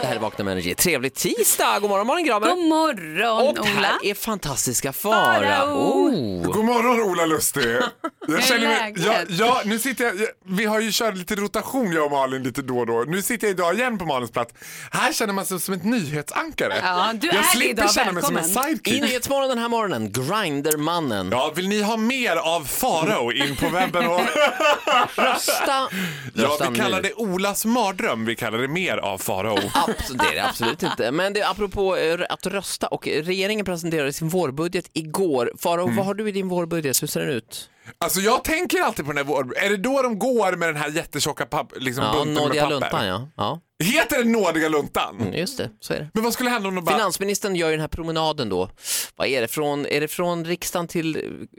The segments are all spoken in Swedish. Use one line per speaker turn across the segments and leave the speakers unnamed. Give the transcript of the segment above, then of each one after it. Det här är Vakna med Energy. Trevlig tisdag! God morgon, morgon grabbar!
God morgon
Och
Ola.
här är fantastiska Farao. Oh.
God morgon Ola Lustig! Jag känner mig,
läget?
ja, ja, nu sitter jag, ja, vi har ju kört lite rotation jag och Malin lite då och då. Nu sitter jag idag igen på Malins plats. Här känner man sig som ett nyhetsankare.
Ja, du är
jag
det
slipper
idag.
känna mig som en
Välkommen.
sidekick.
Nyhetsmorgon den här morgonen, Grindermannen.
Ja, vill ni ha mer av Farao in på webben? Och...
Rösta.
Ja,
Rösta
vi kallar
nu.
det Olas mardröm, vi kallar det mer av Farao.
Abs- det är det absolut inte. Men det är apropå eh, att rösta och eh, regeringen presenterade sin vårbudget igår. Farao,
Mm.
vad har du i din vårbudget? Hur ser den ut?
Alltså jag tänker alltid på den här vår... Är det då de går med den här jättetjocka papp... liksom,
Ja,
bunten med
Nådiga
papper?
Luntan, ja. ja.
Heter det nådiga luntan?
Mm, Just det, så är det.
Men vad skulle hända om de bara...
Finansministern gör ju den här promenaden då. Vad är det? Från, är det från riksdagen till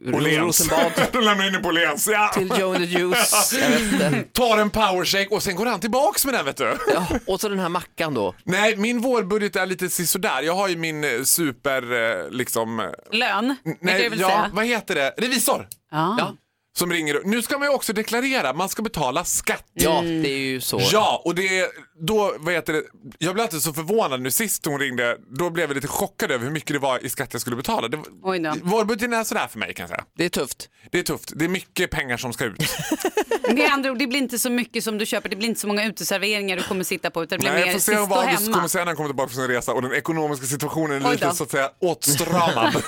eh,
Åhléns.
Rosenbad?
De lämnar in det på Åhléns. Ja.
Till Joe and the Juice? Jag vet inte.
Tar en powershake och sen går han tillbaks med den vet du.
Ja, och så den här mackan då.
Nej, min vårbudget är lite sisådär. Jag har ju min eh, super, eh, liksom... eh,
Lön, vet du
Nej,
vill
ja,
säga?
vad heter det? Revisor
Ja.
Ja.
som ringer. Nu ska man ju också deklarera, man ska betala skatt.
Ja, det är ju så.
Ja, och det är då, vad heter det, jag blev alltid så förvånad nu sist hon ringde, då blev jag lite chockad över hur mycket det var i skatt jag skulle betala. Det,
Oj då.
vårbudgeten är sådär för mig kan jag säga.
Det är tufft.
Det är tufft, det är mycket pengar som ska ut.
Med andra ord, det blir inte så mycket som du köper, det blir inte så många uteserveringar du kommer sitta på utan det blir
Nej, jag
mer
får
sist
se
och
vad August
hemma.
kommer säga när han kommer tillbaka från sin resa och den ekonomiska situationen är
Oj
lite
då.
så att säga åtstramad.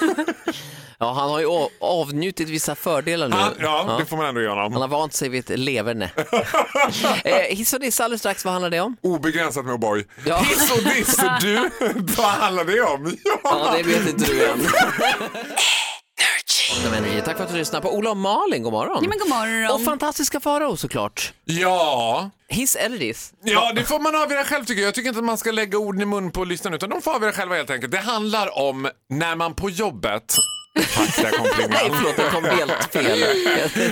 Ja, han har ju a- avnjutit vissa fördelar nu.
Han, ja, det får man ändå ge
Han
honom.
har vant sig vid ett leverne. eh, hiss och diss alldeles strax, vad handlar det om?
Obegränsat med O'boy.
Ja.
Hiss och diss, du, vad handlar det om?
Ja, det vet inte du än. Vakna med energi. Tack för att du lyssnade på Ola och Malin, god morgon.
Ja, men god morgon.
Och fantastiska Farao såklart.
ja.
Hiss eller diss?
Ja, det får man avgöra själv tycker jag. Jag tycker inte att man ska lägga orden i mun på lyssnarna utan de får avgöra själva helt enkelt. Det handlar om när man på jobbet... Tack, där kom
Nej,
plingan.
förlåt, det kom helt fel.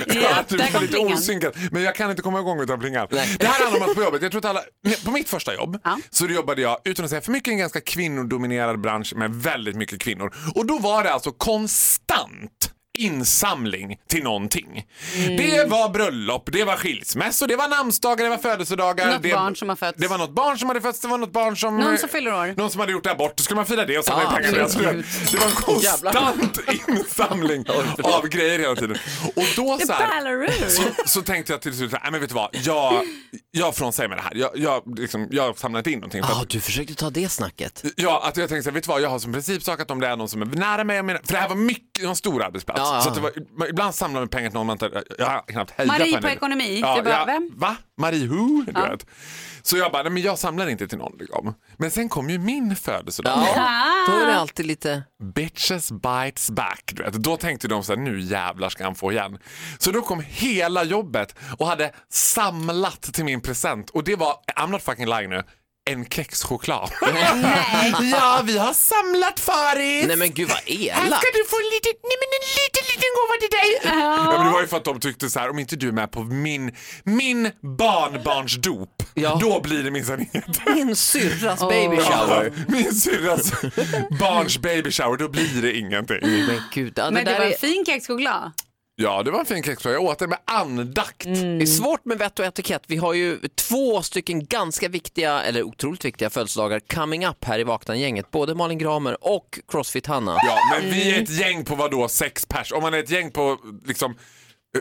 Ja,
Att du
där
blir
kom
lite
plingan.
osynkad. Men jag kan inte komma igång utan plingan. Det här handlar om att på jobbet, jag tror att alla, nej, på mitt första jobb
Ja.
så jobbade jag, utan att säga för mycket, i en ganska kvinnodominerad bransch med väldigt mycket kvinnor. Och då var det alltså konstant insamling till någonting.
Mm.
Det var bröllop, det var skilsmässor, det var namnsdagar, det var födelsedagar.
Något
det,
barn som har fötts.
Det var något barn som hade fötts, det var något barn som...
Någon som fyller år. Ah,
Någon som hade gjort abort, då skulle man fira det och samla
Ja,
in pengar. till det. Alltså, det
absolut.
det var en konstant insamling av grejer hela tiden. Och då så här,
ballar ur.
så, så tänkte jag till slut, nej men vet du vad, jag, jag frånsäger mig det här. Jag, jag, liksom, jag har samlat in någonting. För att,
Ah, du försökte ta det snacket.
Ah.
ja, att jag tänkte så här, vet du vad, jag har som principsak att om det är någon som är nära mig, jag menar, för det här var mycket, det var en stor arbetsplats.
Ja, ja.
Så att det var, man- ibland samlar man pengar till någon man inte, jag har knappt hejat
Marie
henne.
på ekonomi, du bara, vem?
Va? Marie who? Du vet. Så jag bara, nej men jag samlar inte till någon. Liksom. Men sen kom ju min födelsedag.
Ja, då är det alltid lite...
Bitches bites back. Du vet. Då tänkte de så här, nu jävlar ska han få igen. Så då kom hela jobbet och hade samlat till min present. Och det var, I'm not fucking lying nu, en kexchoklad. ja, vi har samlat Faris.
Nej men gud vad
Här
elakt.
ska du få en liten, nej men en liten, liten gåva till dig. Ja. men det var ju för att de tyckte så här, om inte du är med på min, min barnbarnsdop,
Ja.
då blir det minsann inget.
Min syrras baby shower.
Min syrras barns baby shower, då blir det ingenting.
Men gud, ja, det
Men det,
där
var
är,
en fin kexchoklad.
Ja, det var en fin kexchoklad. Jag åt den med andakt.
det är svårt med vett och etikett. Vi har ju två stycken ganska viktiga, eller otroligt viktiga födelsedagar coming up här i Vakna-gänget. Både Malin Gramer och Crossfit-Hanna.
Ja, men vi är ett gäng på vad då sex pers? Om man är ett gäng på liksom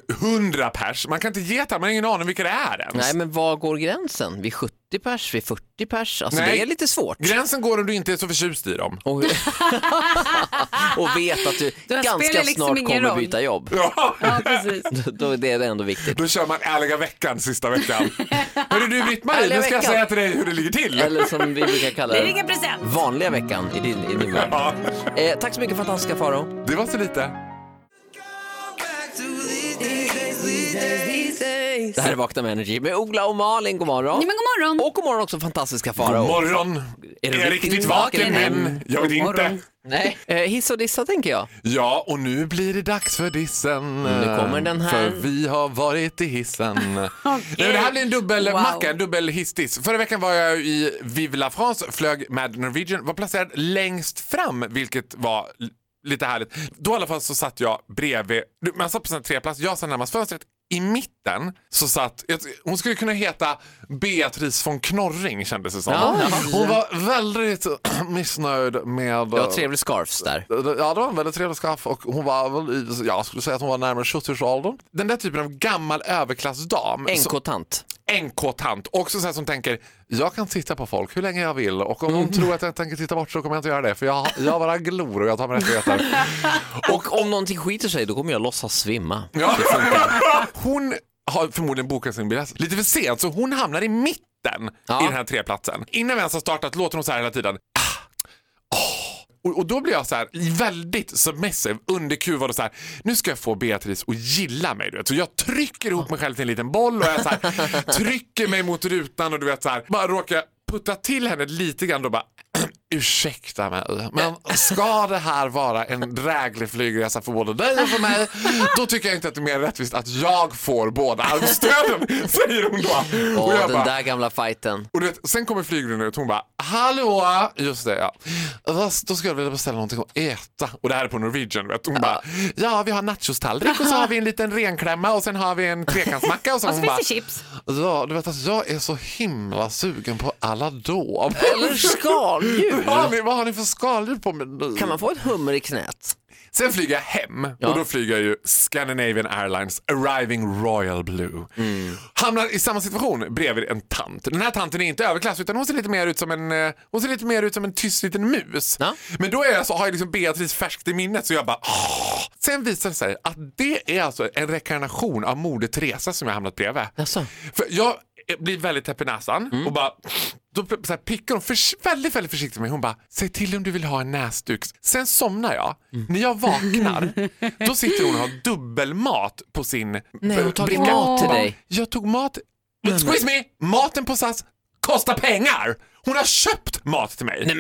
eh, hundra pers, man kan inte ge det här, man har ingen aning vilka det är ens.
Nej men var går gränsen? Vid 70 pers? Vid 40 pers? Alltså
Nej.
det är lite svårt.
Gränsen går om du inte är så förtjust i dem.
Och, och vet att du
Då spelar det
ganska
liksom
snart
ingen
kommer
roll.
byta jobb.
Ja.
Ja, precis.
Då är det ändå viktigt.
Då kör man ärliga veckan sista veckan. Hörru du Britt-Marie,
Ärliga
nu ska jag
veckan.
säga till dig hur det ligger till.
Eller som vi brukar kalla
Det är ingen
det,
present.
vanliga veckan i din, i din värld.
Ja,
Eh, tack så mycket fantastiska Faro.
det var så lite.
Det här är Vakna med Energy med Ola och Malin, god morgon.
Ja, men god morgon.
Och god morgon också fantastiska
God
Farao.
morgon.
Är
Är
du
jag
riktigt
riktigt vaken
vaken
än?
än?
Jag vet
God
inte.
morgon.
Nej. Eh, hiss och dissa tänker jag.
Ja, och nu blir det dags för dissen.
Nu kommer den här.
För vi har varit i hissen. Nej, men det här blir en dubbel
Wow.
macka, en dubbel hiss-diss. Förra veckan var jag i Vive la France, flög med Norwegian, var placerad längst fram, vilket var l- lite härligt. Då i alla fall så satt jag bredvid, du, man satt på sina tre plats, jag satt närmast fönstret, i mitten så satt, jag- hon skulle kunna heta Beatrice von Knorring kändes det som.
Ja.
Hon var väldigt missnöjd med...
Du har trevlig scarfs där.
Ja, det var en väldigt trevlig skaff och hon var väl, i- jag skulle säga att hon var närmare 70-årsåldern. Den där typen av gammal överklassdam. som-
NK-tant.
NK-tant. Också så här som tänker, jag kan titta på folk hur länge jag vill och om hon tror att jag tänker titta bort så kommer jag inte göra det för jag, jag bara glor och jag tar mig rättigheter.
Och om någonting skiter sig då kommer jag låtsas svimma.
Ja. Hon har förmodligen bokat sin biljett lite för sent så hon hamnar i mitten
Ja.
i den här treplatsen. Innan vi ens har startat låter hon så här hela tiden. "Ah, åh." Och, och då blir jag så här väldigt submissive, underkuvad och så här. Nu ska jag få Beatrice att gilla mig. Du vet. Så jag trycker ihop mig själv till en liten boll och jag så här, trycker mig mot rutan och du vet så här. Bara råkar putta till henne lite grann då bara ursäkta mig, men ska det här vara en dräglig flygresa för både dig och för mig, då tycker jag inte att det är mer rättvist att jag får båda armstöden, säger hon då.
Åh,
och jag
den
bara,
där gamla fighten.
och du vet, sen kommer flygvärdinnan ut och hon bara hallå, just det ja. Fast Då skulle jag vilja beställa någonting att äta. Och det här är på Norwegian. Vet. du. Hon bara ja vi har nachostallrik och så har vi en liten renklämma och sen har vi en trekantsmacka. Och, så
Och så
hon
finns
bara,
det chips.
Ja du vet att jag är så himla sugen på alla då.
Eller skaldjur.
Vad har, ni, vad har ni för skaldjur på menyn?
Kan man få en hummer i knät?
Sen flyger jag hem och då flyger jag ju Scandinavian Airlines Arriving Royal Blue. Hamnar i samma situation bredvid en tant. Den här tanten är inte överklass utan hon ser lite mer ut som en, eh, hon ser lite mer ut som en tyst liten mus.
Ja.
Men då är jag så, har jag liksom Beatrice färskt i minnet så jag bara "Åh." Sen visar det sig att det är alltså en rekarnation av Moder Teresa som jag hamnat bredvid.
Jaså?
För jag blir väldigt täpp i näsan
Mm.
och bara då så här pickar hon förs- väldigt, väldigt försiktigt med mig. Hon bara, säg till om du vill ha en näsduk. Sen somnar jag.
Mm.
När jag vaknar, då sitter hon och har dubbelmat på sin
hon har tagit
bricka.
mat till
Hon bara,
dig.
Jag tog mat. Squeeze me! Maten på SAS kostar pengar! Hon har köpt mat till mig.
Nej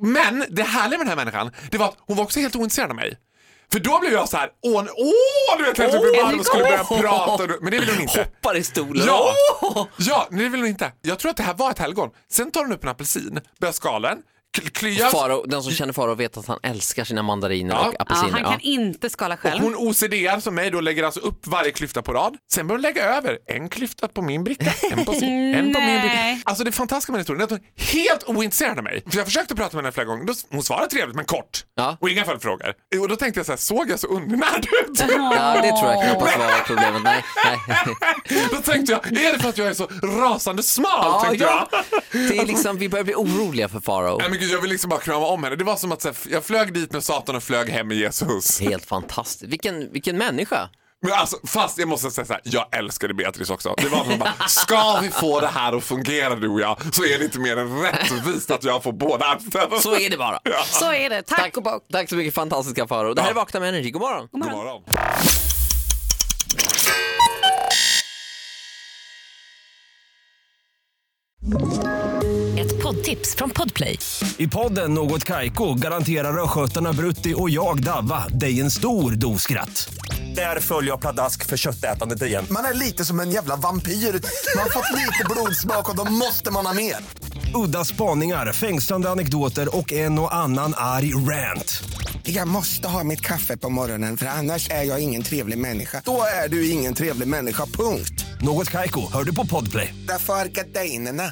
men,
Men det härliga med den här människan, det var att hon var också helt ointresserad av mig. För då blev jag så här, åh, n- åh, du vet, jag typ blev varm och skulle börja prata. Men det ville hon inte.
hoppar i stolen.
Ja! ja, nej det vill hon inte. Jag tror att det här var ett helgon. Sen tar hon upp en apelsin, börjar skala den, kl- kliar.
Faro, den som känner Faro vet att han älskar sina mandariner
Ja.
och
Ja,
apelsiner.
han kan inte skala själv.
Hon OCDar som mig då lägger alltså upp varje klyfta på rad. Sen börjar hon lägga över en klyfta på min bricka, en på sin, en på min bricka.
Nej.
Alltså det fantastiska med den historien är att hon är helt ointresserad av mig. För jag försökte prata med henne flera gånger. Då, hon svarade trevligt men kort.
Ja.
Och inga följdfrågor. Och då tänkte jag så här, såg jag så undernärd ut?
Ja, det tror jag knappast var problemet. Nej, nej.
då tänkte jag, är det för att jag är så rasande smal? tänkte jag.
Det är liksom, vi börjar bli oroliga för Faro.
Nej, men gud, jag vill liksom bara krama om henne. Det var som att så här, jag flög dit med Satan och flög hem med Jesus.
Helt fantastiskt. Vilken, vilken människa.
Men alltså, fast jag måste säga så här, jag älskade Beatrice också. Det var som bara, ska vi få det här att fungera du och jag så är det inte mer än rättvist att jag får båda anställda.
Så är det bara.
Så är det. Tack, och bock.
Tack så mycket fantastiska Faro. Det här är
Ja.
Vakna med Energy, god morgon.
God morgon.
Ett poddtips från Podplay.
I podden Något Kaiko garanterar östgötarna Brutti och jag, Davva, dig en stor dos skratt. Där följer jag pladask för köttätandet igen.
Man är lite som en jävla vampyr. Man har fått lite blodsmak och då måste man ha mer.
Udda spaningar, fängslande anekdoter och en och annan arg rant.
Jag måste ha mitt kaffe på morgonen för annars är jag ingen trevlig människa. Då är du ingen trevlig människa, punkt.
Något Kaiko, hör du på Podplay.
Därför arkadeinerna.